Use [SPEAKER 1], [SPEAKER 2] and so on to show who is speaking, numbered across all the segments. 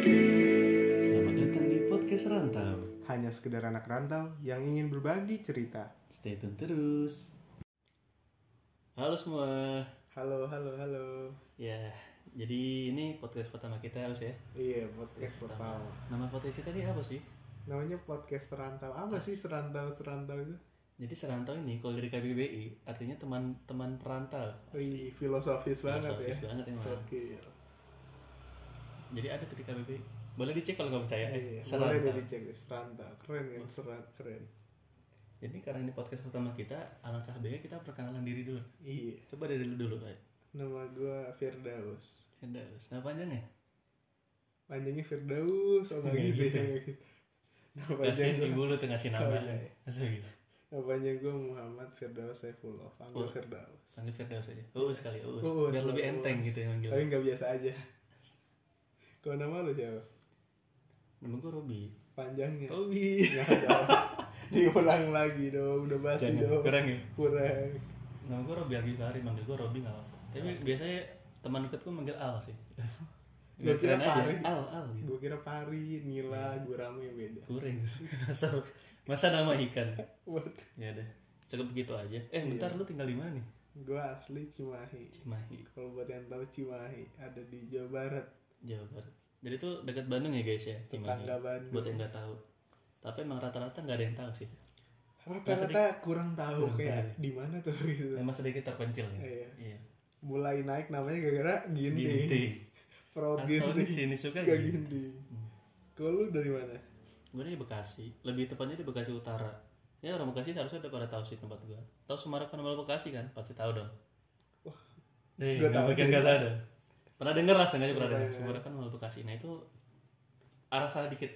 [SPEAKER 1] Selamat datang di podcast Rantau.
[SPEAKER 2] Hanya sekedar anak rantau yang ingin berbagi cerita.
[SPEAKER 1] Stay tune terus. Halo semua.
[SPEAKER 2] Halo, halo, halo.
[SPEAKER 1] Ya, jadi ini podcast pertama kita harus ya.
[SPEAKER 2] Iya, podcast pertama.
[SPEAKER 1] Nama podcast kita ini apa sih?
[SPEAKER 2] Namanya podcast serantau. Apa sih serantau serantau itu?
[SPEAKER 1] Jadi serantau ini kalau dari KBBI artinya teman-teman perantau. Asik.
[SPEAKER 2] Wih, filosofis Oh, iya. banget ya.
[SPEAKER 1] Filosofis banget emang.
[SPEAKER 2] Oke.
[SPEAKER 1] Jadi ada tuh di KBBI. Boleh dicek kalau nggak percaya.
[SPEAKER 2] Iya,
[SPEAKER 1] eh.
[SPEAKER 2] boleh
[SPEAKER 1] Serantau.
[SPEAKER 2] deh dicek deh, serantau. Keren kan seran keren.
[SPEAKER 1] Jadi karena ini podcast pertama kita, alangkah baiknya kita perkenalan diri dulu.
[SPEAKER 2] Iya.
[SPEAKER 1] Coba dari lu dulu, Pak.
[SPEAKER 2] Nama gua Firdaus.
[SPEAKER 1] Firdaus. Nama panjangnya?
[SPEAKER 2] Panjangnya Firdaus, orang
[SPEAKER 1] Nggak gitu.
[SPEAKER 2] gitu ya nggak gitu. Nama
[SPEAKER 1] Kasihin
[SPEAKER 2] panjang
[SPEAKER 1] ibu lu tuh ngasih nama.
[SPEAKER 2] Iya, iya.
[SPEAKER 1] Masa gitu?
[SPEAKER 2] nama panjang gua Muhammad Firdaus Saifullah.
[SPEAKER 1] Oh.
[SPEAKER 2] Panggil Firdaus.
[SPEAKER 1] Panggil Firdaus aja. Uus kali, Uus.
[SPEAKER 2] Uus,
[SPEAKER 1] Biar lebih
[SPEAKER 2] Uus.
[SPEAKER 1] enteng gitu yang manggil.
[SPEAKER 2] Tapi nggak biasa aja. Kalau nama lu siapa?
[SPEAKER 1] Nama gue Robi.
[SPEAKER 2] Panjangnya.
[SPEAKER 1] Robi.
[SPEAKER 2] Ya, dong. Diulang lagi dong, udah basi
[SPEAKER 1] Jangan,
[SPEAKER 2] dong.
[SPEAKER 1] kurang ya.
[SPEAKER 2] Kurang.
[SPEAKER 1] Nama gue Robi Algifari, manggil gue Robi nggak apa-apa. Tapi
[SPEAKER 2] Nah.
[SPEAKER 1] biasanya teman dekatku manggil Al sih.
[SPEAKER 2] Gua
[SPEAKER 1] Keren
[SPEAKER 2] kira
[SPEAKER 1] aja,
[SPEAKER 2] Fahri.
[SPEAKER 1] Al, Al gitu.
[SPEAKER 2] Gue kira Pari, Nila, Gurame yang beda.
[SPEAKER 1] Kuring. Masa, masa nama ikan.
[SPEAKER 2] Waduh.
[SPEAKER 1] Ya udah. Cukup begitu aja.
[SPEAKER 2] Iya.
[SPEAKER 1] Eh, bentar lu tinggal di mana nih?
[SPEAKER 2] Gue asli Cimahi.
[SPEAKER 1] Cimahi,
[SPEAKER 2] Kalau buat yang tahu Cimahi ada di Jawa Barat,
[SPEAKER 1] Jawa Barat. Jadi itu dekat Bandung ya guys ya, Cimahi.
[SPEAKER 2] tetangga Bandung.
[SPEAKER 1] Buat yang nggak tahu. Tapi emang rata-rata nggak ada yang tahu sih.
[SPEAKER 2] Rata-rata kurang tahu
[SPEAKER 1] Kurang
[SPEAKER 2] kayak di mana tuh gitu.
[SPEAKER 1] Memang sedikit terpencil ya.
[SPEAKER 2] Iya.
[SPEAKER 1] Iya.
[SPEAKER 2] Mulai naik namanya gara-gara Ginting.
[SPEAKER 1] Ginting.
[SPEAKER 2] Pro
[SPEAKER 1] Atau di
[SPEAKER 2] Ginting.
[SPEAKER 1] sini suka
[SPEAKER 2] Gak
[SPEAKER 1] gitu.
[SPEAKER 2] Ginting. Kalau lu dari mana?
[SPEAKER 1] Gue di Bekasi, lebih tepatnya di Bekasi Utara. Ya orang Bekasi harusnya udah pada tahu sih tempat gue. Tahu Semarang Karnaval Bekasi kan? Pasti tahu dong.
[SPEAKER 2] Wah,
[SPEAKER 1] Eh,
[SPEAKER 2] gua
[SPEAKER 1] nggak
[SPEAKER 2] tahu
[SPEAKER 1] mungkin
[SPEAKER 2] sih. Iya,
[SPEAKER 1] nggak tahu dong. Pernah denger lah sengaja pernah
[SPEAKER 2] Pernah
[SPEAKER 1] denger
[SPEAKER 2] denger.
[SPEAKER 1] Semarang Karnaval Bekasi. Nah itu arah salah dikit.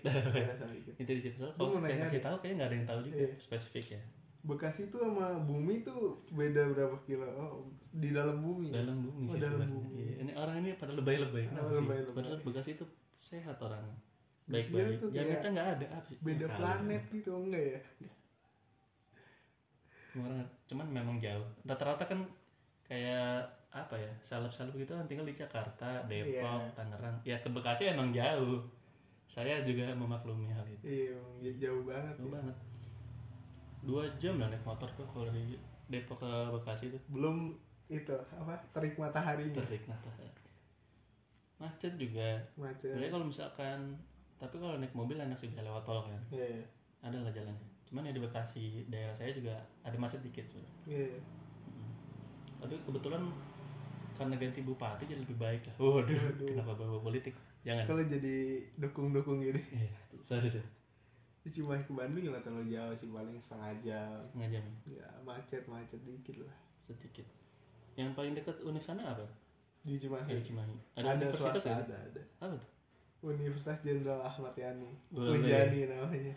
[SPEAKER 1] itu di situ. Soalnya
[SPEAKER 2] Gua
[SPEAKER 1] Kalau
[SPEAKER 2] mau
[SPEAKER 1] yang
[SPEAKER 2] nanya
[SPEAKER 1] kasih tahu kayaknya nggak ada yang tahu juga
[SPEAKER 2] Iya.
[SPEAKER 1] spesifik ya.
[SPEAKER 2] Bekasi tuh sama bumi tuh beda berapa kilo? Oh, di dalam bumi.
[SPEAKER 1] Dalam bumi
[SPEAKER 2] Oh,
[SPEAKER 1] sih
[SPEAKER 2] dalam
[SPEAKER 1] sebenarnya.
[SPEAKER 2] bumi.
[SPEAKER 1] Iya, Ini orang ini pada lebay-lebay.
[SPEAKER 2] Oh,
[SPEAKER 1] Kenapa sih?
[SPEAKER 2] lebay-lebay.
[SPEAKER 1] Padahal Bekasi itu sehat orangnya.
[SPEAKER 2] Dia
[SPEAKER 1] Baik-baik.
[SPEAKER 2] tuh
[SPEAKER 1] Jangan
[SPEAKER 2] kayak
[SPEAKER 1] kita nggak ada. Iya, apa sih?
[SPEAKER 2] beda
[SPEAKER 1] Nggak ada.
[SPEAKER 2] planet gitu enggak ya?
[SPEAKER 1] Murah, cuman memang jauh. Rata-rata kan kayak apa ya, salep-salep gitu kan tinggal di Jakarta, Depok,
[SPEAKER 2] Iya.
[SPEAKER 1] Tangerang. Ya ke Bekasi emang jauh. Saya juga memaklumi hal itu.
[SPEAKER 2] Iya, emang j- jauh banget.
[SPEAKER 1] Jauh
[SPEAKER 2] ya.
[SPEAKER 1] banget. Dua jam lah naik motor tuh kalau dari Depok ke Bekasi tuh
[SPEAKER 2] Belum itu apa? Terik mataharinya.
[SPEAKER 1] terik nah, tuh. Macet juga. Jadi
[SPEAKER 2] Macet.
[SPEAKER 1] kalau misalkan tapi kalau naik mobil enak sih bisa lewat tol kan.
[SPEAKER 2] Iya, iya.
[SPEAKER 1] Ada lah jalannya. Cuman ya di Bekasi daerah saya juga ada macet dikit sebenarnya.
[SPEAKER 2] Iya.
[SPEAKER 1] Tapi kebetulan karena ganti bupati jadi lebih baik lah. Waduh,
[SPEAKER 2] Waduh.
[SPEAKER 1] kenapa bawa politik? Jangan.
[SPEAKER 2] Kalau jadi dukung-dukung gini,
[SPEAKER 1] Iya, sorry sih.
[SPEAKER 2] di Cimahi ke Bandung nggak terlalu jauh sih, paling setengah jam.
[SPEAKER 1] Setengah jam
[SPEAKER 2] Ya macet-macet dikit lah
[SPEAKER 1] sedikit. Yang paling dekat univ sana apa?
[SPEAKER 2] di Cimahi.
[SPEAKER 1] Dari Cimahi. Iya, Ada,
[SPEAKER 2] Ada,
[SPEAKER 1] universitas
[SPEAKER 2] swasta,
[SPEAKER 1] ya?
[SPEAKER 2] ada, ada.
[SPEAKER 1] Apa tuh?
[SPEAKER 2] Universitas Jenderal Ahmad Yani.
[SPEAKER 1] Boleh.
[SPEAKER 2] Unjani namanya.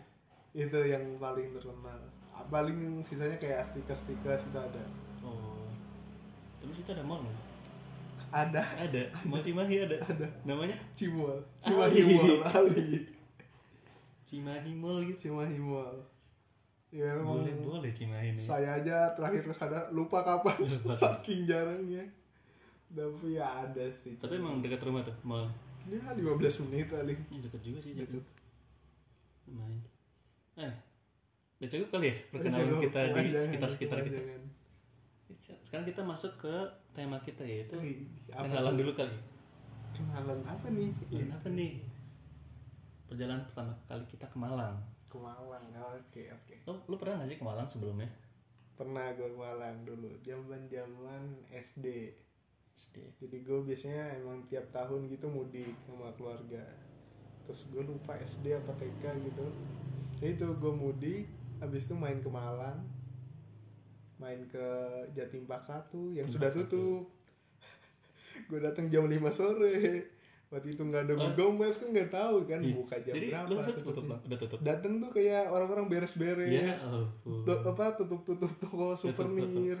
[SPEAKER 2] Itu yang paling terkenal. Ah, Paling sisanya kayak stiker-stiker itu ada.
[SPEAKER 1] Oh. Terus itu ada mall nggak?
[SPEAKER 2] Ada
[SPEAKER 1] Ada. Mall Cimahi ada.
[SPEAKER 2] Ada.
[SPEAKER 1] Namanya
[SPEAKER 2] Cimol,
[SPEAKER 1] Ali.
[SPEAKER 2] Cimahi Mall, Ali.
[SPEAKER 1] Cimahi Mall gitu.
[SPEAKER 2] Cimahi Mall. Ya emang
[SPEAKER 1] Boleh boleh Cimahi ini.
[SPEAKER 2] saya aja terakhir ke sana lupa kapan
[SPEAKER 1] Lupa.
[SPEAKER 2] saking jarangnya. Tapi ya ada sih.
[SPEAKER 1] Tapi emang dekat rumah tuh mall.
[SPEAKER 2] ini kan 15 menit Gitu. paling.
[SPEAKER 1] Ini dekat juga sih.
[SPEAKER 2] Deket.
[SPEAKER 1] Lumayan. Eh, udah cukup kali ya perkenalan kita di
[SPEAKER 2] Kepanjangan,
[SPEAKER 1] sekitar-sekitar kita.
[SPEAKER 2] kepanjangan.
[SPEAKER 1] Sekarang kita masuk ke tema kita yaitu
[SPEAKER 2] Wih, apa
[SPEAKER 1] kenalan
[SPEAKER 2] tuh?
[SPEAKER 1] dulu kali.
[SPEAKER 2] Kenalan apa nih?
[SPEAKER 1] Kenalan apa nih? Perjalanan pertama kali kita ke Malang.
[SPEAKER 2] Ke Malang. Oke, oke.
[SPEAKER 1] Lo, lo pernah nggak sih ke Malang sebelumnya?
[SPEAKER 2] pernah gue ke Malang dulu zaman zaman SD
[SPEAKER 1] SD.
[SPEAKER 2] jadi gue biasanya emang tiap tahun gitu mudik sama keluarga terus gue lupa SD apa TK gitu Ya itu gue mudik habis itu main ke Malang main ke Jatim Park 1 yang
[SPEAKER 1] Jatim
[SPEAKER 2] sudah
[SPEAKER 1] Park
[SPEAKER 2] tutup gue datang jam 5 sore waktu itu nggak ada
[SPEAKER 1] Oh.
[SPEAKER 2] Google Maps kan nggak tahu kan
[SPEAKER 1] Iya.
[SPEAKER 2] buka jam
[SPEAKER 1] Jadi
[SPEAKER 2] berapa
[SPEAKER 1] lo udah tutup,
[SPEAKER 2] tutupnya.
[SPEAKER 1] Bang? udah tutup.
[SPEAKER 2] datang tuh kayak orang-orang beres-beres
[SPEAKER 1] Ya, ampun.
[SPEAKER 2] Tu- apa tutup-tutup toko
[SPEAKER 1] Tutup-tutup.
[SPEAKER 2] souvenir.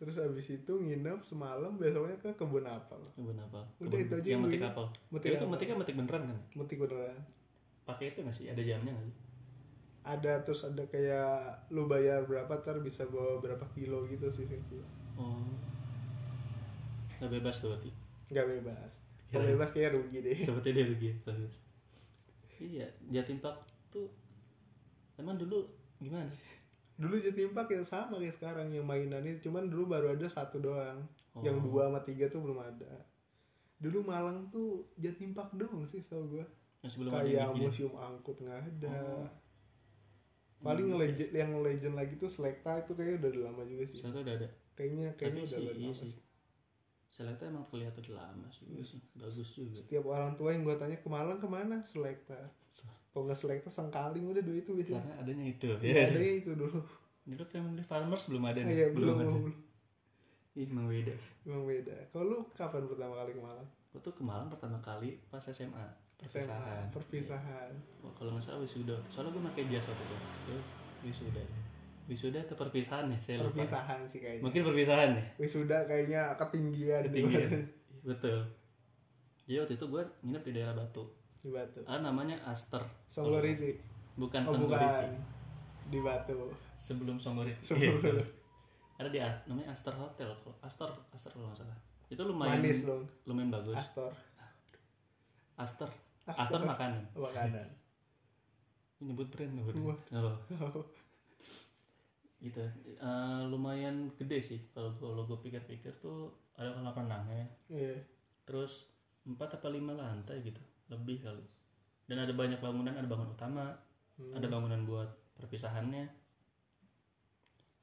[SPEAKER 2] Terus abis itu nginep semalam besoknya ke kebun apel.
[SPEAKER 1] Kebun apa?
[SPEAKER 2] Udah,
[SPEAKER 1] Kebun
[SPEAKER 2] itu aja
[SPEAKER 1] yang
[SPEAKER 2] yang
[SPEAKER 1] metik
[SPEAKER 2] gue
[SPEAKER 1] apel.
[SPEAKER 2] Metik
[SPEAKER 1] Tapi itu
[SPEAKER 2] apel.
[SPEAKER 1] metiknya metik beneran kan?
[SPEAKER 2] Metik beneran.
[SPEAKER 1] Pakai itu nggak sih? Ada jamnya nggak sih?
[SPEAKER 2] Ada terus ada kayak lu Oh. bayar berapa ntar bisa bawa berapa kilo gitu sih. sih.
[SPEAKER 1] Oh. nggak bebas tuh berarti
[SPEAKER 2] nggak bebas kalau
[SPEAKER 1] Kirain.
[SPEAKER 2] bebas kayak rugi deh
[SPEAKER 1] seperti dia rugi bagus iya jatim park tuh emang dulu gimana sih
[SPEAKER 2] dulu Jatim Park yang sama kayak sekarang yang mainannya cuman dulu baru ada satu doang
[SPEAKER 1] Oh.
[SPEAKER 2] yang dua sama tiga tuh belum ada dulu Malang tuh Jatim Park doang sih tau gue
[SPEAKER 1] yang sebelum ada
[SPEAKER 2] kayak
[SPEAKER 1] ini
[SPEAKER 2] museum angkut nggak ada
[SPEAKER 1] Oh.
[SPEAKER 2] paling
[SPEAKER 1] Hmm,
[SPEAKER 2] legend yang legend lagi tuh Selekta itu kayaknya udah lama juga sih
[SPEAKER 1] Selekta udah ada
[SPEAKER 2] kayaknya kayaknya
[SPEAKER 1] Iya. tapi sih
[SPEAKER 2] udah lama
[SPEAKER 1] iya
[SPEAKER 2] sih.
[SPEAKER 1] sih Selekta emang kelihatan udah lama sih
[SPEAKER 2] Iya
[SPEAKER 1] bagus, bagus juga
[SPEAKER 2] setiap orang tua yang gue tanya ke Malang kemana Selekta kalau nggak Selekta Sengkaling udah dua itu biasanya
[SPEAKER 1] karena adanya itu
[SPEAKER 2] Iya,
[SPEAKER 1] ya
[SPEAKER 2] ada itu dulu
[SPEAKER 1] dulu family farmers belum ada
[SPEAKER 2] Ah, iya,
[SPEAKER 1] nih
[SPEAKER 2] belum
[SPEAKER 1] ada
[SPEAKER 2] belum
[SPEAKER 1] Ih, emang beda
[SPEAKER 2] Emang beda kalau lu kapan pertama kali ke Malang
[SPEAKER 1] Gue tuh ke Malang pertama kali pas SMA
[SPEAKER 2] SMA
[SPEAKER 1] perpisahan.
[SPEAKER 2] perpisahan
[SPEAKER 1] Wah, kalau nggak salah wisuda. Soalnya gue pakai jas waktu itu. Ya, wisuda. Wisuda atau perpisahan ya? Saya lupa.
[SPEAKER 2] perpisahan sih kayaknya
[SPEAKER 1] Mungkin perpisahan ya.
[SPEAKER 2] wisuda kayaknya ketinggian,
[SPEAKER 1] Ketinggian. Betul. Jadi waktu itu gue nginep di daerah Batu.
[SPEAKER 2] di Batu
[SPEAKER 1] Ah namanya Aster. Oh,
[SPEAKER 2] Songgoriti
[SPEAKER 1] iya. Bukan
[SPEAKER 2] oh
[SPEAKER 1] Songgoriti.
[SPEAKER 2] bukan di Batu
[SPEAKER 1] Sebelum Songgoriti. Iya,
[SPEAKER 2] Sebelum.
[SPEAKER 1] sebelum. Ada di As- namanya Aster Hotel. kalau- Aster, Aster kalau nggak salah. Itu lumayan
[SPEAKER 2] manis dong
[SPEAKER 1] lumayan bagus.
[SPEAKER 2] Astor
[SPEAKER 1] Aster. Aster makanan.
[SPEAKER 2] makanan
[SPEAKER 1] Ini nyebut brand nyebut brand.
[SPEAKER 2] Wah.
[SPEAKER 1] Nggak apa-apa. gitu Eh, lumayan gede sih kalau gua- kalau gue pikir-pikir tuh ada kolam renangnya
[SPEAKER 2] Iya.
[SPEAKER 1] terus empat apa lima lantai gitu lebih kali dan ada banyak bangunan ada bangunan utama
[SPEAKER 2] Hmm.
[SPEAKER 1] ada bangunan buat perpisahannya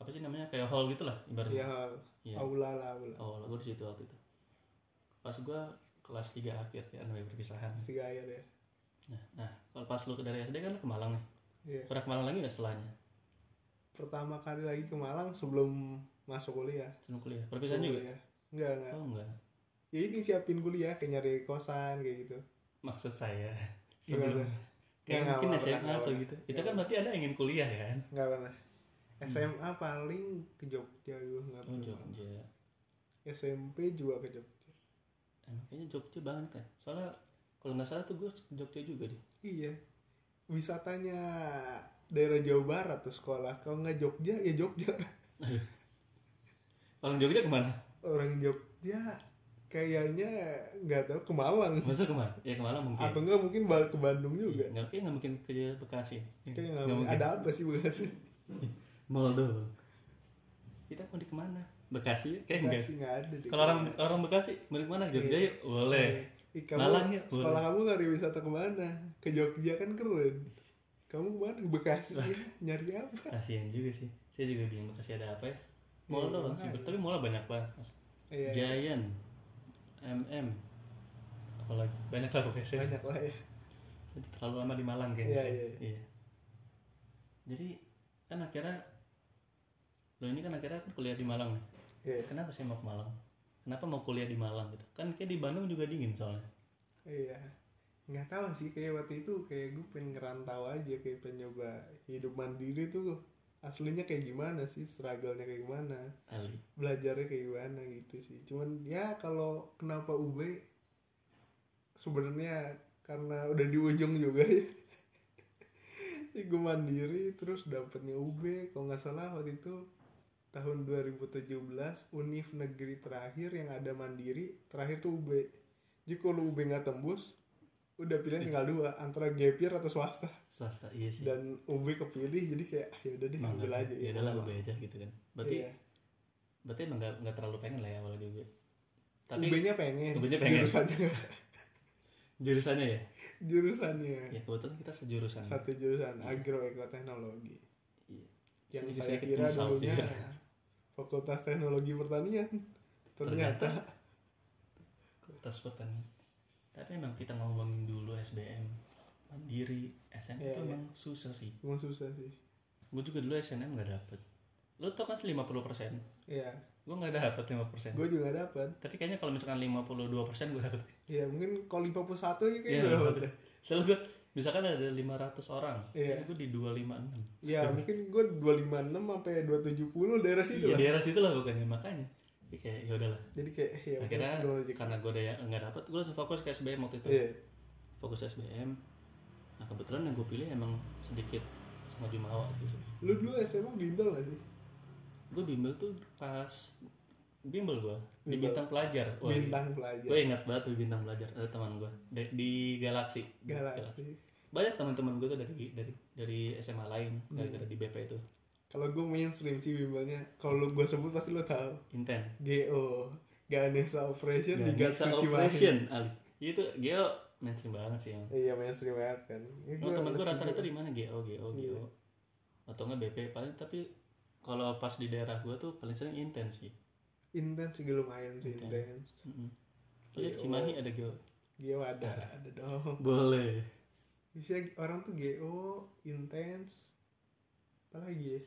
[SPEAKER 1] apa sih namanya kayak hall gitulah
[SPEAKER 2] Iya,
[SPEAKER 1] ibaratnya
[SPEAKER 2] hal.
[SPEAKER 1] Iya.
[SPEAKER 2] aula lah aula
[SPEAKER 1] oh gue di situ waktu itu pas gue kelas 3 akhir ya namanya perpisahan
[SPEAKER 2] tiga air ya
[SPEAKER 1] nah, nah kalau pas lu ke dari SD kan lu ke Malang nih
[SPEAKER 2] Iya.
[SPEAKER 1] pernah ke Malang lagi nggak setelahnya
[SPEAKER 2] pertama kali lagi ke Malang sebelum masuk kuliah
[SPEAKER 1] sebelum kuliah perpisahan juga
[SPEAKER 2] Kuliah. enggak enggak
[SPEAKER 1] oh enggak
[SPEAKER 2] ya ini siapin kuliah kayak nyari kosan kayak gitu
[SPEAKER 1] maksud saya
[SPEAKER 2] Gimana?
[SPEAKER 1] sebelum kayak
[SPEAKER 2] Nggak,
[SPEAKER 1] mungkin
[SPEAKER 2] nggak pernah,
[SPEAKER 1] SMA
[SPEAKER 2] nggak
[SPEAKER 1] atau
[SPEAKER 2] pernah.
[SPEAKER 1] gitu itu
[SPEAKER 2] Nggak
[SPEAKER 1] kan berarti anda ingin kuliah kan
[SPEAKER 2] enggak pernah SMA paling ke Jogja gue nggak
[SPEAKER 1] Hmm. oh
[SPEAKER 2] pernah
[SPEAKER 1] Jogja
[SPEAKER 2] SMP juga ke Jogja
[SPEAKER 1] emang kayaknya Jogja banget kan soalnya kalau nggak salah tuh gue Jogja juga deh
[SPEAKER 2] iya wisatanya daerah Jawa Barat tuh sekolah kalau nggak Jogja ya Jogja
[SPEAKER 1] orang Jogja kemana
[SPEAKER 2] orang Jogja kayaknya nggak tahu ke Malang
[SPEAKER 1] masa kemana ya kemana mungkin
[SPEAKER 2] atau enggak mungkin balik ke Bandung
[SPEAKER 1] Iya,
[SPEAKER 2] juga
[SPEAKER 1] nggak kayaknya nggak mungkin ke Bekasi
[SPEAKER 2] kayaknya Iya. nggak mungkin. ada apa sih Bekasi
[SPEAKER 1] mall doang kita mau di kemana Bekasi kayak enggak
[SPEAKER 2] Bekasi nggak ada deh
[SPEAKER 1] Iya, kalau orang orang Bekasi mau di kemana Jogja
[SPEAKER 2] Iya.
[SPEAKER 1] yuk boleh
[SPEAKER 2] Ih, kamu,
[SPEAKER 1] Malang ya,
[SPEAKER 2] sekolah kamu lari wisata kemana ke Jogja kan keren kamu kemana ke Bekasi ya? nyari apa
[SPEAKER 1] kasihan juga sih saya juga bingung Bekasi ada apa ya
[SPEAKER 2] Iya,
[SPEAKER 1] mall doang sih
[SPEAKER 2] makanya.
[SPEAKER 1] tapi mall banyak banget
[SPEAKER 2] iya iya.
[SPEAKER 1] Giant, MM, apalagi banyak lah pokoknya saya
[SPEAKER 2] banyak lah ya
[SPEAKER 1] jadi terlalu lama di Malang kayaknya
[SPEAKER 2] Iya,
[SPEAKER 1] saya.
[SPEAKER 2] iya,
[SPEAKER 1] Iya. Jadi kan akhirnya lo ini kan akhirnya kan kuliah di Malang nih.
[SPEAKER 2] Iya,
[SPEAKER 1] Kenapa sih mau ke Malang? Kenapa mau kuliah di Malang gitu? Kan kayak di Bandung juga dingin soalnya.
[SPEAKER 2] iya nggak tahu sih kayak waktu itu kayak gue pengen ngerantau aja kayak pengen nyoba hidup mandiri tuh aslinya kayak gimana sih struggle-nya kayak gimana
[SPEAKER 1] Ali.
[SPEAKER 2] belajarnya kayak gimana gitu sih cuman ya kalau kenapa UB sebenarnya karena udah di ujung juga ya Jadi gue mandiri terus dapetnya UB kalau nggak salah waktu itu tahun 2017 univ negeri terakhir yang ada mandiri terakhir tuh UB jadi kalau UB nggak tembus udah pilihan
[SPEAKER 1] Eh.
[SPEAKER 2] tinggal dua antara gap year atau swasta
[SPEAKER 1] Swasta iya sih.
[SPEAKER 2] dan UB kepilih jadi kayak ah, ya udah deh
[SPEAKER 1] Emang
[SPEAKER 2] ambil
[SPEAKER 1] nggak-
[SPEAKER 2] aja
[SPEAKER 1] Ya udahlah gue aja gitu kan. Berarti
[SPEAKER 2] Iya.
[SPEAKER 1] berarti emang nggak nggak terlalu pengen lah ya awalnya di UB. Tapi
[SPEAKER 2] UB-nya pengen,
[SPEAKER 1] UB-nya pengen.
[SPEAKER 2] jurusannya
[SPEAKER 1] jurusannya ya?
[SPEAKER 2] jurusannya
[SPEAKER 1] Ya kebetulan kita sejurusan.
[SPEAKER 2] satu jurusan agroekoteknologi
[SPEAKER 1] Iya.
[SPEAKER 2] yang
[SPEAKER 1] Sedikit-
[SPEAKER 2] saya
[SPEAKER 1] sedikit
[SPEAKER 2] kira
[SPEAKER 1] menyesal sih.
[SPEAKER 2] dulunya fakultas teknologi pertanian
[SPEAKER 1] ternyata
[SPEAKER 2] ternyata,
[SPEAKER 1] kertas pertanian tapi emang kita ngomongin dulu SBM mandiri SNM
[SPEAKER 2] Iya,
[SPEAKER 1] itu
[SPEAKER 2] iya.
[SPEAKER 1] emang susah sih
[SPEAKER 2] emang susah sih
[SPEAKER 1] gue juga dulu SNM nggak dapet lo tau kan 50%
[SPEAKER 2] ya
[SPEAKER 1] gue nggak dapet 5%
[SPEAKER 2] gue juga dapat
[SPEAKER 1] tapi kayaknya kalau misalkan 52% gue dapet
[SPEAKER 2] ya mungkin kalau 51 ya
[SPEAKER 1] Iya,
[SPEAKER 2] kayaknya udah dapet.
[SPEAKER 1] selalu gue misalkan ada 500 orang
[SPEAKER 2] Iya.
[SPEAKER 1] gue di 256
[SPEAKER 2] ya mungkin gue 256 sampai 270 daerah situ
[SPEAKER 1] ya
[SPEAKER 2] lah
[SPEAKER 1] daerah situ lah bukannya makanya Jadi kayak ya udahlah
[SPEAKER 2] jadi kayak ya
[SPEAKER 1] akhirnya
[SPEAKER 2] udah, udah,
[SPEAKER 1] karena gue udah nggak dapet gue langsung fokus ke SBM waktu itu
[SPEAKER 2] iya
[SPEAKER 1] fokus SBM nah kebetulan yang gue pilih emang sedikit sama Jumawa sih
[SPEAKER 2] lu dulu SMA bimbel gak sih
[SPEAKER 1] gue bimbel tuh pas bimbel gua di
[SPEAKER 2] Bimbel.
[SPEAKER 1] bintang pelajar Wah,
[SPEAKER 2] bintang pelajar
[SPEAKER 1] gue ingat banget tuh bintang pelajar ada teman gue di, di Galaxy
[SPEAKER 2] galaksi
[SPEAKER 1] banyak teman-teman gue tuh dari dari dari SMA lain
[SPEAKER 2] Hmm.
[SPEAKER 1] gara-gara di BP itu
[SPEAKER 2] kalau gue mainstream sih bimbelnya kalau gue sebut pasti lo tahu
[SPEAKER 1] intent
[SPEAKER 2] GO Ganesha Operation di
[SPEAKER 1] Ganesha
[SPEAKER 2] Gatsu Cimahi
[SPEAKER 1] Operation Ali itu Geo mainstream banget sih yang
[SPEAKER 2] iya mainstream banget kan ya,
[SPEAKER 1] oh, temen gue
[SPEAKER 2] harus
[SPEAKER 1] rata-rata
[SPEAKER 2] gitu.
[SPEAKER 1] di mana Geo Geo
[SPEAKER 2] Iya.
[SPEAKER 1] Geo atau enggak BP paling tapi kalau pas di daerah gue tuh paling sering intens sih
[SPEAKER 2] intens juga lumayan sih
[SPEAKER 1] Intens.
[SPEAKER 2] intens
[SPEAKER 1] Mm-mm. Lu liat
[SPEAKER 2] Geo.
[SPEAKER 1] Cimahi ada Geo
[SPEAKER 2] GO ada ada dong
[SPEAKER 1] boleh
[SPEAKER 2] Biasanya orang tuh GO, intens, apa lagi ya?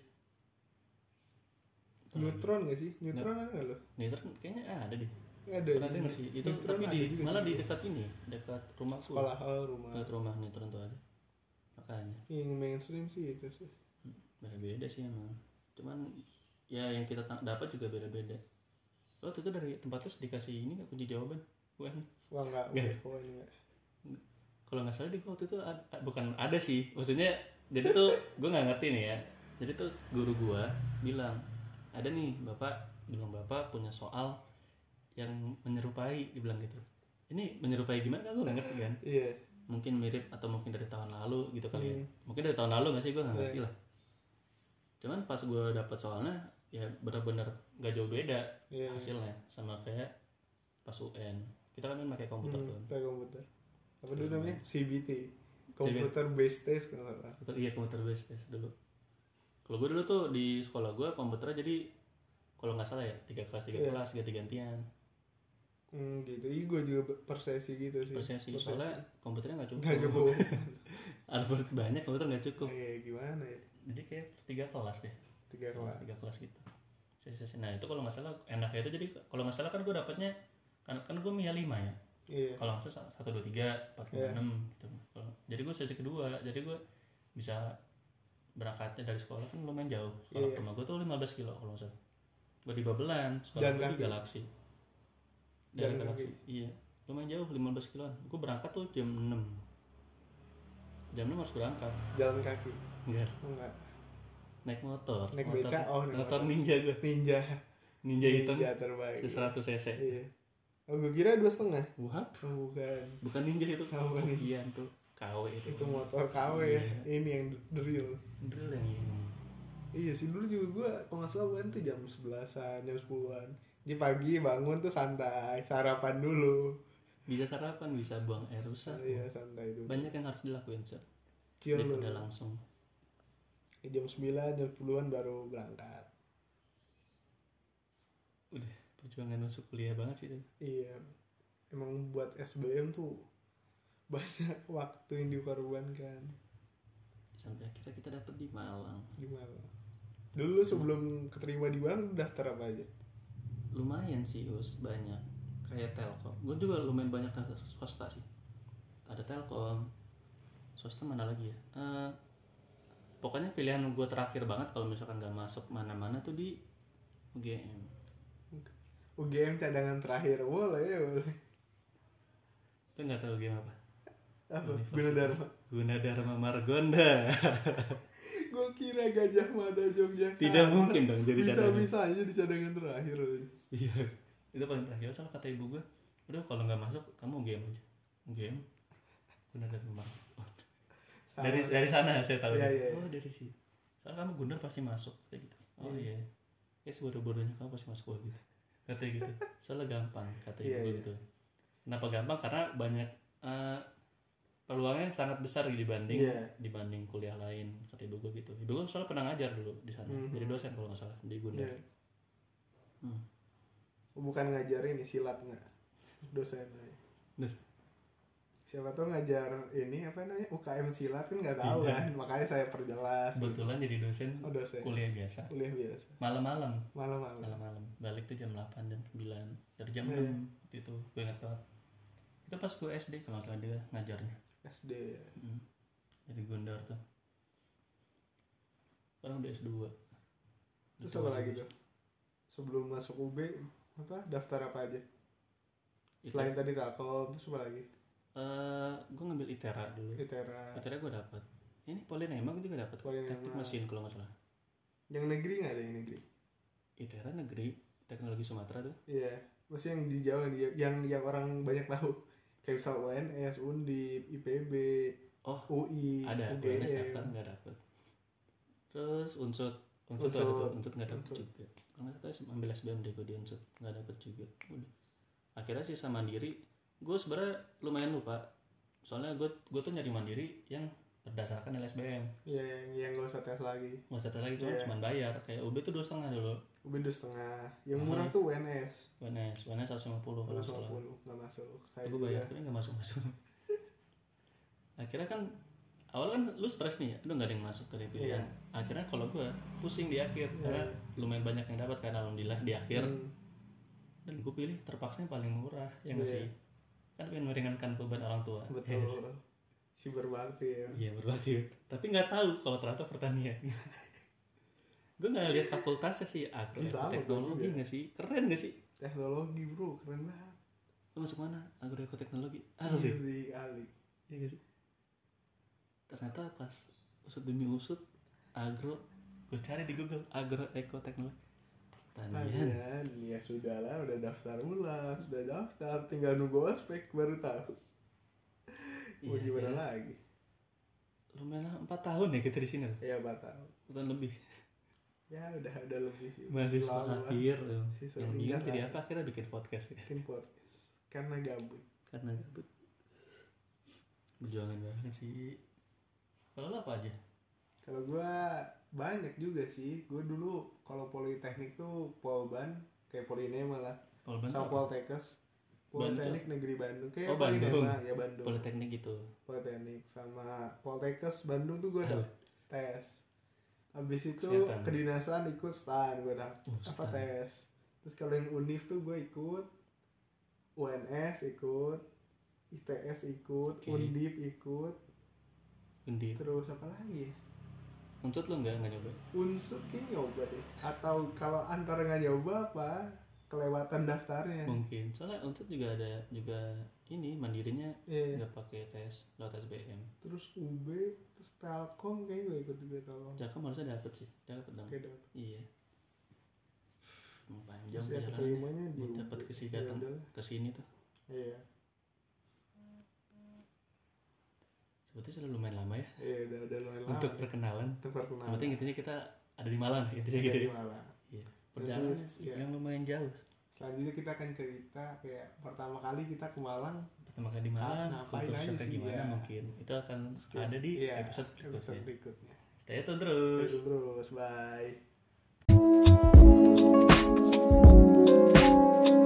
[SPEAKER 2] Neutron gak sih? Neutron ada gak lo?
[SPEAKER 1] Neutron kayaknya ah, ada deh
[SPEAKER 2] Nggak ada.
[SPEAKER 1] pernah denger sih itu
[SPEAKER 2] Neutron
[SPEAKER 1] tapi
[SPEAKER 2] Iya, ada
[SPEAKER 1] di
[SPEAKER 2] juga
[SPEAKER 1] malah
[SPEAKER 2] sih.
[SPEAKER 1] di dekat ini dekat rumah gue
[SPEAKER 2] Sekolah oh, rumah.
[SPEAKER 1] dekat rumah Neutron tuh ada makanya
[SPEAKER 2] Yang mainstream sih itu sih.
[SPEAKER 1] beda-beda sih emang cuman ya yang kita ta- dapat juga beda-beda lo waktu itu dari tempat terus dikasih ini nggak kunci jawaban bukan
[SPEAKER 2] Wah nggak,
[SPEAKER 1] Nggak. ya?
[SPEAKER 2] udah pokoknya nggak.
[SPEAKER 1] kalau nggak salah di waktu itu ad- ad- bukan ada sih maksudnya jadi tuh gue nggak ngerti nih ya jadi tuh guru gue bilang ada nih bapak bilang bapak punya soal yang menyerupai dibilang gitu ini menyerupai gimana kan gue nggak ngerti kan
[SPEAKER 2] Iya.
[SPEAKER 1] mungkin mirip atau mungkin dari tahun lalu gitu kali ya
[SPEAKER 2] Hmm.
[SPEAKER 1] mungkin dari tahun lalu nggak sih gue nggak
[SPEAKER 2] Iya.
[SPEAKER 1] ngerti lah cuman pas gue dapet soalnya ya benar-benar nggak jauh beda
[SPEAKER 2] Iya.
[SPEAKER 1] hasilnya sama kayak pas UN kita kan pakai komputer
[SPEAKER 2] Hmm,
[SPEAKER 1] tuh
[SPEAKER 2] pakai komputer. Apa dulu
[SPEAKER 1] Iya.
[SPEAKER 2] namanya? CBT. Computer based test kalau nggak salah.
[SPEAKER 1] komputer iya komputer based test dulu kalau gue dulu tuh di sekolah gue komputernya jadi kalau nggak salah ya tiga kelas tiga
[SPEAKER 2] Iya.
[SPEAKER 1] kelas ganti gantian
[SPEAKER 2] Hmm, gitu. Iya gue juga be- persesi gitu sih.
[SPEAKER 1] persesi soalnya komputernya nggak cukup
[SPEAKER 2] Nggak cukup.
[SPEAKER 1] Albert banyak komputer nggak cukup
[SPEAKER 2] Iya gimana ya?
[SPEAKER 1] jadi kayak tiga kelas deh
[SPEAKER 2] Tiga
[SPEAKER 1] kelas
[SPEAKER 2] kelas.
[SPEAKER 1] tiga kelas gitu sesi-sesi nah itu kalau nggak salah enaknya itu jadi kalau nggak salah kan gue dapatnya kan kan gue mia lima ya
[SPEAKER 2] Iya.
[SPEAKER 1] kalau nggak salah satu dua tiga empat lima
[SPEAKER 2] Iya.
[SPEAKER 1] enam gitu Kalau- jadi gue sesi kedua jadi gue bisa berangkatnya dari sekolah kan lumayan jauh sekolah
[SPEAKER 2] Iya.
[SPEAKER 1] ke rumah gue tuh 15 kilo kalau nggak salah gue di Babelan sekolah
[SPEAKER 2] Jalan
[SPEAKER 1] gue di
[SPEAKER 2] kaki.
[SPEAKER 1] Galaksi dari
[SPEAKER 2] Jalan
[SPEAKER 1] Galaksi iya lumayan jauh 15 kiloan gue berangkat tuh jam 6 jam 6 harus berangkat
[SPEAKER 2] Jalan kaki.
[SPEAKER 1] enggak
[SPEAKER 2] Oh, Nggak.
[SPEAKER 1] naik motor
[SPEAKER 2] Naik
[SPEAKER 1] motor,
[SPEAKER 2] beca, oh, naik
[SPEAKER 1] motor
[SPEAKER 2] motor.
[SPEAKER 1] ninja gue
[SPEAKER 2] Ninja.
[SPEAKER 1] ninja hitam
[SPEAKER 2] Ninja terbaik.
[SPEAKER 1] seratus cc
[SPEAKER 2] Iya. Oh, gue kira dua setengah.
[SPEAKER 1] Wah,
[SPEAKER 2] Oh, bukan.
[SPEAKER 1] bukan ninja itu
[SPEAKER 2] Oh, bukan ninja.
[SPEAKER 1] Iya, tuh KW itu
[SPEAKER 2] Itu motor KW
[SPEAKER 1] Iya.
[SPEAKER 2] ya. Ini yang the real.
[SPEAKER 1] drill yang ini
[SPEAKER 2] Iya sih dulu juga gue kalau nggak salah bukan tuh jam 11-an, jam 10-an. Jadi pagi bangun tuh santai, sarapan dulu.
[SPEAKER 1] bisa sarapan bisa buang air rusak
[SPEAKER 2] Iya, santai dulu.
[SPEAKER 1] banyak yang harus dilakuin sih
[SPEAKER 2] Chill dulu.
[SPEAKER 1] daripada langsung
[SPEAKER 2] Jam 9, jam 10-an baru berangkat.
[SPEAKER 1] perjuangan masuk kuliah banget sih itu.
[SPEAKER 2] Iya. Emang buat SBM tuh banyak waktu yang dikorbankan.
[SPEAKER 1] sampai akhirnya kita dapet di Malang
[SPEAKER 2] Gimana? Dulu sebelum keterima di Bang daftar apa aja?
[SPEAKER 1] lumayan sih us banyak kayak Telkom gue juga lumayan banyak daftar swasta sih ada Telkom swasta mana lagi ya Eh, pokoknya pilihan gue terakhir banget kalau misalkan nggak masuk mana-mana tuh di UGM
[SPEAKER 2] UGM cadangan terakhir. Boleh ya, boleh.
[SPEAKER 1] Lu nggak tahu game apa?
[SPEAKER 2] Apa?
[SPEAKER 1] Universitas.
[SPEAKER 2] Gunadarma.
[SPEAKER 1] Gunadarma Margonda.
[SPEAKER 2] Gue kira Gajah Mada Jogja.
[SPEAKER 1] Tidak mungkin dong jadi
[SPEAKER 2] Nah, bisa
[SPEAKER 1] cadangan.
[SPEAKER 2] bisa aja di cadangan terakhir
[SPEAKER 1] Iya. Itu paling terakhir soalnya kata ibu gue, udah kalau nggak masuk kamu game aja. Game. Gunadarma Margonda.
[SPEAKER 2] Sama.
[SPEAKER 1] Dari dari sana saya tahu.
[SPEAKER 2] Oh. Iya,
[SPEAKER 1] dia.
[SPEAKER 2] iya, iya.
[SPEAKER 1] Oh dari sini. Soalnya kamu Gundar pasti masuk kayak gitu. Oh
[SPEAKER 2] Iya.
[SPEAKER 1] iya. Ya sebodoh-bodohnya kamu pasti masuk gua gitu. Katanya gitu. Soalnya gampang kata ibu
[SPEAKER 2] Iya,
[SPEAKER 1] gue
[SPEAKER 2] iya.
[SPEAKER 1] gitu. Kenapa gampang? Karena banyak eh, peluangnya sangat besar dibanding
[SPEAKER 2] Iya.
[SPEAKER 1] dibanding kuliah lain kata ibu gue gitu ibu gue soalnya pernah ngajar dulu di sana
[SPEAKER 2] Mhm.
[SPEAKER 1] jadi dosen kalau nggak salah di Gundar
[SPEAKER 2] Iya.
[SPEAKER 1] Hmm.
[SPEAKER 2] bukan ngajarin ya silat nggak dosen aja.
[SPEAKER 1] Terus,
[SPEAKER 2] siapa tuh ngajar ini apa namanya UKM silat kan nggak
[SPEAKER 1] Tidak.
[SPEAKER 2] tahu kan makanya saya perjelas
[SPEAKER 1] kebetulan jadi dosen
[SPEAKER 2] oh dosen
[SPEAKER 1] kuliah biasa
[SPEAKER 2] kuliah biasa
[SPEAKER 1] malam-malam
[SPEAKER 2] malam-malam
[SPEAKER 1] malam-malam balik tuh jam 8 jam 9 dari jam
[SPEAKER 2] Iya.
[SPEAKER 1] 6 waktu itu gue ingat banget itu pas gue SD kalau nggak salah dia ngajarnya
[SPEAKER 2] SD ya.
[SPEAKER 1] Hmm. dari Gondar tuh sekarang udah S2
[SPEAKER 2] terus apa lagi tuh sebelum masuk UB apa daftar apa aja
[SPEAKER 1] Itu,
[SPEAKER 2] selain tadi takom terus apa lagi
[SPEAKER 1] eh, gue ngambil ITERA dulu
[SPEAKER 2] litera
[SPEAKER 1] ITERA gue dapet ini polinema gue juga dapet
[SPEAKER 2] Polinema.
[SPEAKER 1] teknik mesin kalau nggak salah
[SPEAKER 2] yang negeri nggak ada yang negeri
[SPEAKER 1] ITERA negeri teknologi Sumatera tuh
[SPEAKER 2] Iya, masih yang di Jawa nih, yang yang orang banyak tahu. Kayak misal UNS, Undip, IPB,
[SPEAKER 1] Oh,
[SPEAKER 2] UI,
[SPEAKER 1] ada
[SPEAKER 2] UGM.
[SPEAKER 1] UNS daftar nggak dapet terus unsut unsut tuh ada tuh
[SPEAKER 2] Unsut.
[SPEAKER 1] unsut nggak dapet
[SPEAKER 2] Unsut.
[SPEAKER 1] juga kalau nggak salah sih ambil SBM deh gue di unsut nggak dapet juga udah akhirnya sih sama mandiri gue sebenarnya lumayan lupa soalnya gue gue tuh nyari mandiri yang berdasarkan LSBM
[SPEAKER 2] Iya, yang yang gak usah tes lagi.
[SPEAKER 1] nggak usah tes lagi cuma
[SPEAKER 2] Iya.
[SPEAKER 1] cuma bayar kayak UB tuh dua setengah dulu
[SPEAKER 2] Ubin dua setengah. Yang
[SPEAKER 1] Hmm.
[SPEAKER 2] murah tuh UNS,
[SPEAKER 1] UNS UNS 150 kalau nggak
[SPEAKER 2] seratus iya.
[SPEAKER 1] salah
[SPEAKER 2] nggak masuk. Saya
[SPEAKER 1] Itu gue
[SPEAKER 2] juga.
[SPEAKER 1] bayar, akhirnya gak masuk-masuk Akhirnya kan, awal kan lu stres nih, aduh gak ada yang masuk ke pilihan Akhirnya kalau gue, pusing di akhir
[SPEAKER 2] Iya.
[SPEAKER 1] Karena lumayan banyak yang dapat kan, alhamdulillah di akhir
[SPEAKER 2] Hmm.
[SPEAKER 1] Dan gue pilih terpaksa yang paling murah, ya nggak sih?
[SPEAKER 2] Iya.
[SPEAKER 1] Kan pengen meringankan beban orang tua
[SPEAKER 2] Betul.
[SPEAKER 1] Yes.
[SPEAKER 2] Siber bakti ya.
[SPEAKER 1] Iya berbakti Tapi gak tahu kalau ternyata pertanian Gue gak lihat fakultasnya sih, agro
[SPEAKER 2] Sama, gua
[SPEAKER 1] teknologi
[SPEAKER 2] juga.
[SPEAKER 1] gak sih? Keren gak sih?
[SPEAKER 2] Teknologi bro, keren banget.
[SPEAKER 1] Lu masuk mana? Agroekoteknologi?
[SPEAKER 2] Iya
[SPEAKER 1] Alif
[SPEAKER 2] sih, Ali.
[SPEAKER 1] Iya gak sih? Ternyata pas usut demi usut agro gue cari di Google agro ekoteknologi pertanian.
[SPEAKER 2] Kalian ya sudah lah, udah daftar ulang, sudah daftar, tinggal nunggu ospek baru tahu. Mau
[SPEAKER 1] Iya,
[SPEAKER 2] gimana
[SPEAKER 1] akhirnya
[SPEAKER 2] lagi?
[SPEAKER 1] Lumayan lah 4 tahun ya kita di sini loh.
[SPEAKER 2] Ya batal.
[SPEAKER 1] Bukan lebih.
[SPEAKER 2] Ya udah udah lebih sih.
[SPEAKER 1] Masih
[SPEAKER 2] Lama.
[SPEAKER 1] akhir. loh.
[SPEAKER 2] Sisa
[SPEAKER 1] Yang
[SPEAKER 2] tiga
[SPEAKER 1] bingung jadi
[SPEAKER 2] tahun.
[SPEAKER 1] apa akhirnya bikin podcast ya.
[SPEAKER 2] Bikin podcast. Karena gabut.
[SPEAKER 1] Karena gabut. Perjuangan banget sih. Kalau lo apa aja?
[SPEAKER 2] Kalau gua banyak juga sih. Gua dulu kalau politeknik tuh Polban, kayak Poline malah.
[SPEAKER 1] Kalau bantu
[SPEAKER 2] Sama
[SPEAKER 1] apa?
[SPEAKER 2] Poltekes. Politeknik Negeri Bandung. Kayak
[SPEAKER 1] Oh, Bandung.
[SPEAKER 2] Polinema, ya Bandung.
[SPEAKER 1] Politeknik gitu.
[SPEAKER 2] Politeknik sama Poltekes Bandung tuh gua
[SPEAKER 1] Aduh,
[SPEAKER 2] ada tes. Habis itu
[SPEAKER 1] Kesehatan.
[SPEAKER 2] kedinasan ikut stan gua daftar.
[SPEAKER 1] uh,
[SPEAKER 2] apa
[SPEAKER 1] stan.
[SPEAKER 2] tes terus kalau yang univ tuh gue ikut UNS ikut ITS ikut
[SPEAKER 1] Oke.
[SPEAKER 2] Undip ikut
[SPEAKER 1] Undi.
[SPEAKER 2] terus apa lagi ya?
[SPEAKER 1] Unsut lo nggak nggak nyoba?
[SPEAKER 2] unsur kayaknya nyoba deh atau kalau antara nggak nyoba apa kelewatan daftarnya
[SPEAKER 1] Mungkin. Soalnya unsut juga ada juga ini mandirinya
[SPEAKER 2] Iya.
[SPEAKER 1] nggak pakai tes lewat SBM
[SPEAKER 2] terus UB terus Telkom kayaknya gue ikut juga Telkom
[SPEAKER 1] Jakam harusnya dapet sih dapet dong
[SPEAKER 2] kayak dapet
[SPEAKER 1] iya Emang panjang
[SPEAKER 2] terus ya
[SPEAKER 1] perjalanan
[SPEAKER 2] keterimanya di
[SPEAKER 1] buat dapet
[SPEAKER 2] UB.
[SPEAKER 1] kesehatan.
[SPEAKER 2] Ya udahlah.
[SPEAKER 1] ke sini tuh
[SPEAKER 2] iya
[SPEAKER 1] sebetulnya sudah lumayan lama ya
[SPEAKER 2] iya udah udah lumayan lama
[SPEAKER 1] untuk gitu. perkenalan
[SPEAKER 2] untuk perkenalan
[SPEAKER 1] yang penting intinya kita ada di Malang intinya
[SPEAKER 2] Kayak
[SPEAKER 1] gitu ya
[SPEAKER 2] gimana?
[SPEAKER 1] perjalanan
[SPEAKER 2] Terus, ya.
[SPEAKER 1] yang lumayan jauh
[SPEAKER 2] selanjutnya kita akan cerita kayak pertama kali kita ke Malang
[SPEAKER 1] pertama kali di Malang
[SPEAKER 2] Ah, Ngapain
[SPEAKER 1] kultur
[SPEAKER 2] aja
[SPEAKER 1] shocknya
[SPEAKER 2] sih,
[SPEAKER 1] gimana
[SPEAKER 2] ya.
[SPEAKER 1] mungkin itu akan ada di
[SPEAKER 2] Iya,
[SPEAKER 1] episode
[SPEAKER 2] episode
[SPEAKER 1] berikutnya
[SPEAKER 2] berikutnya.
[SPEAKER 1] stay tune terus
[SPEAKER 2] Terus, bye.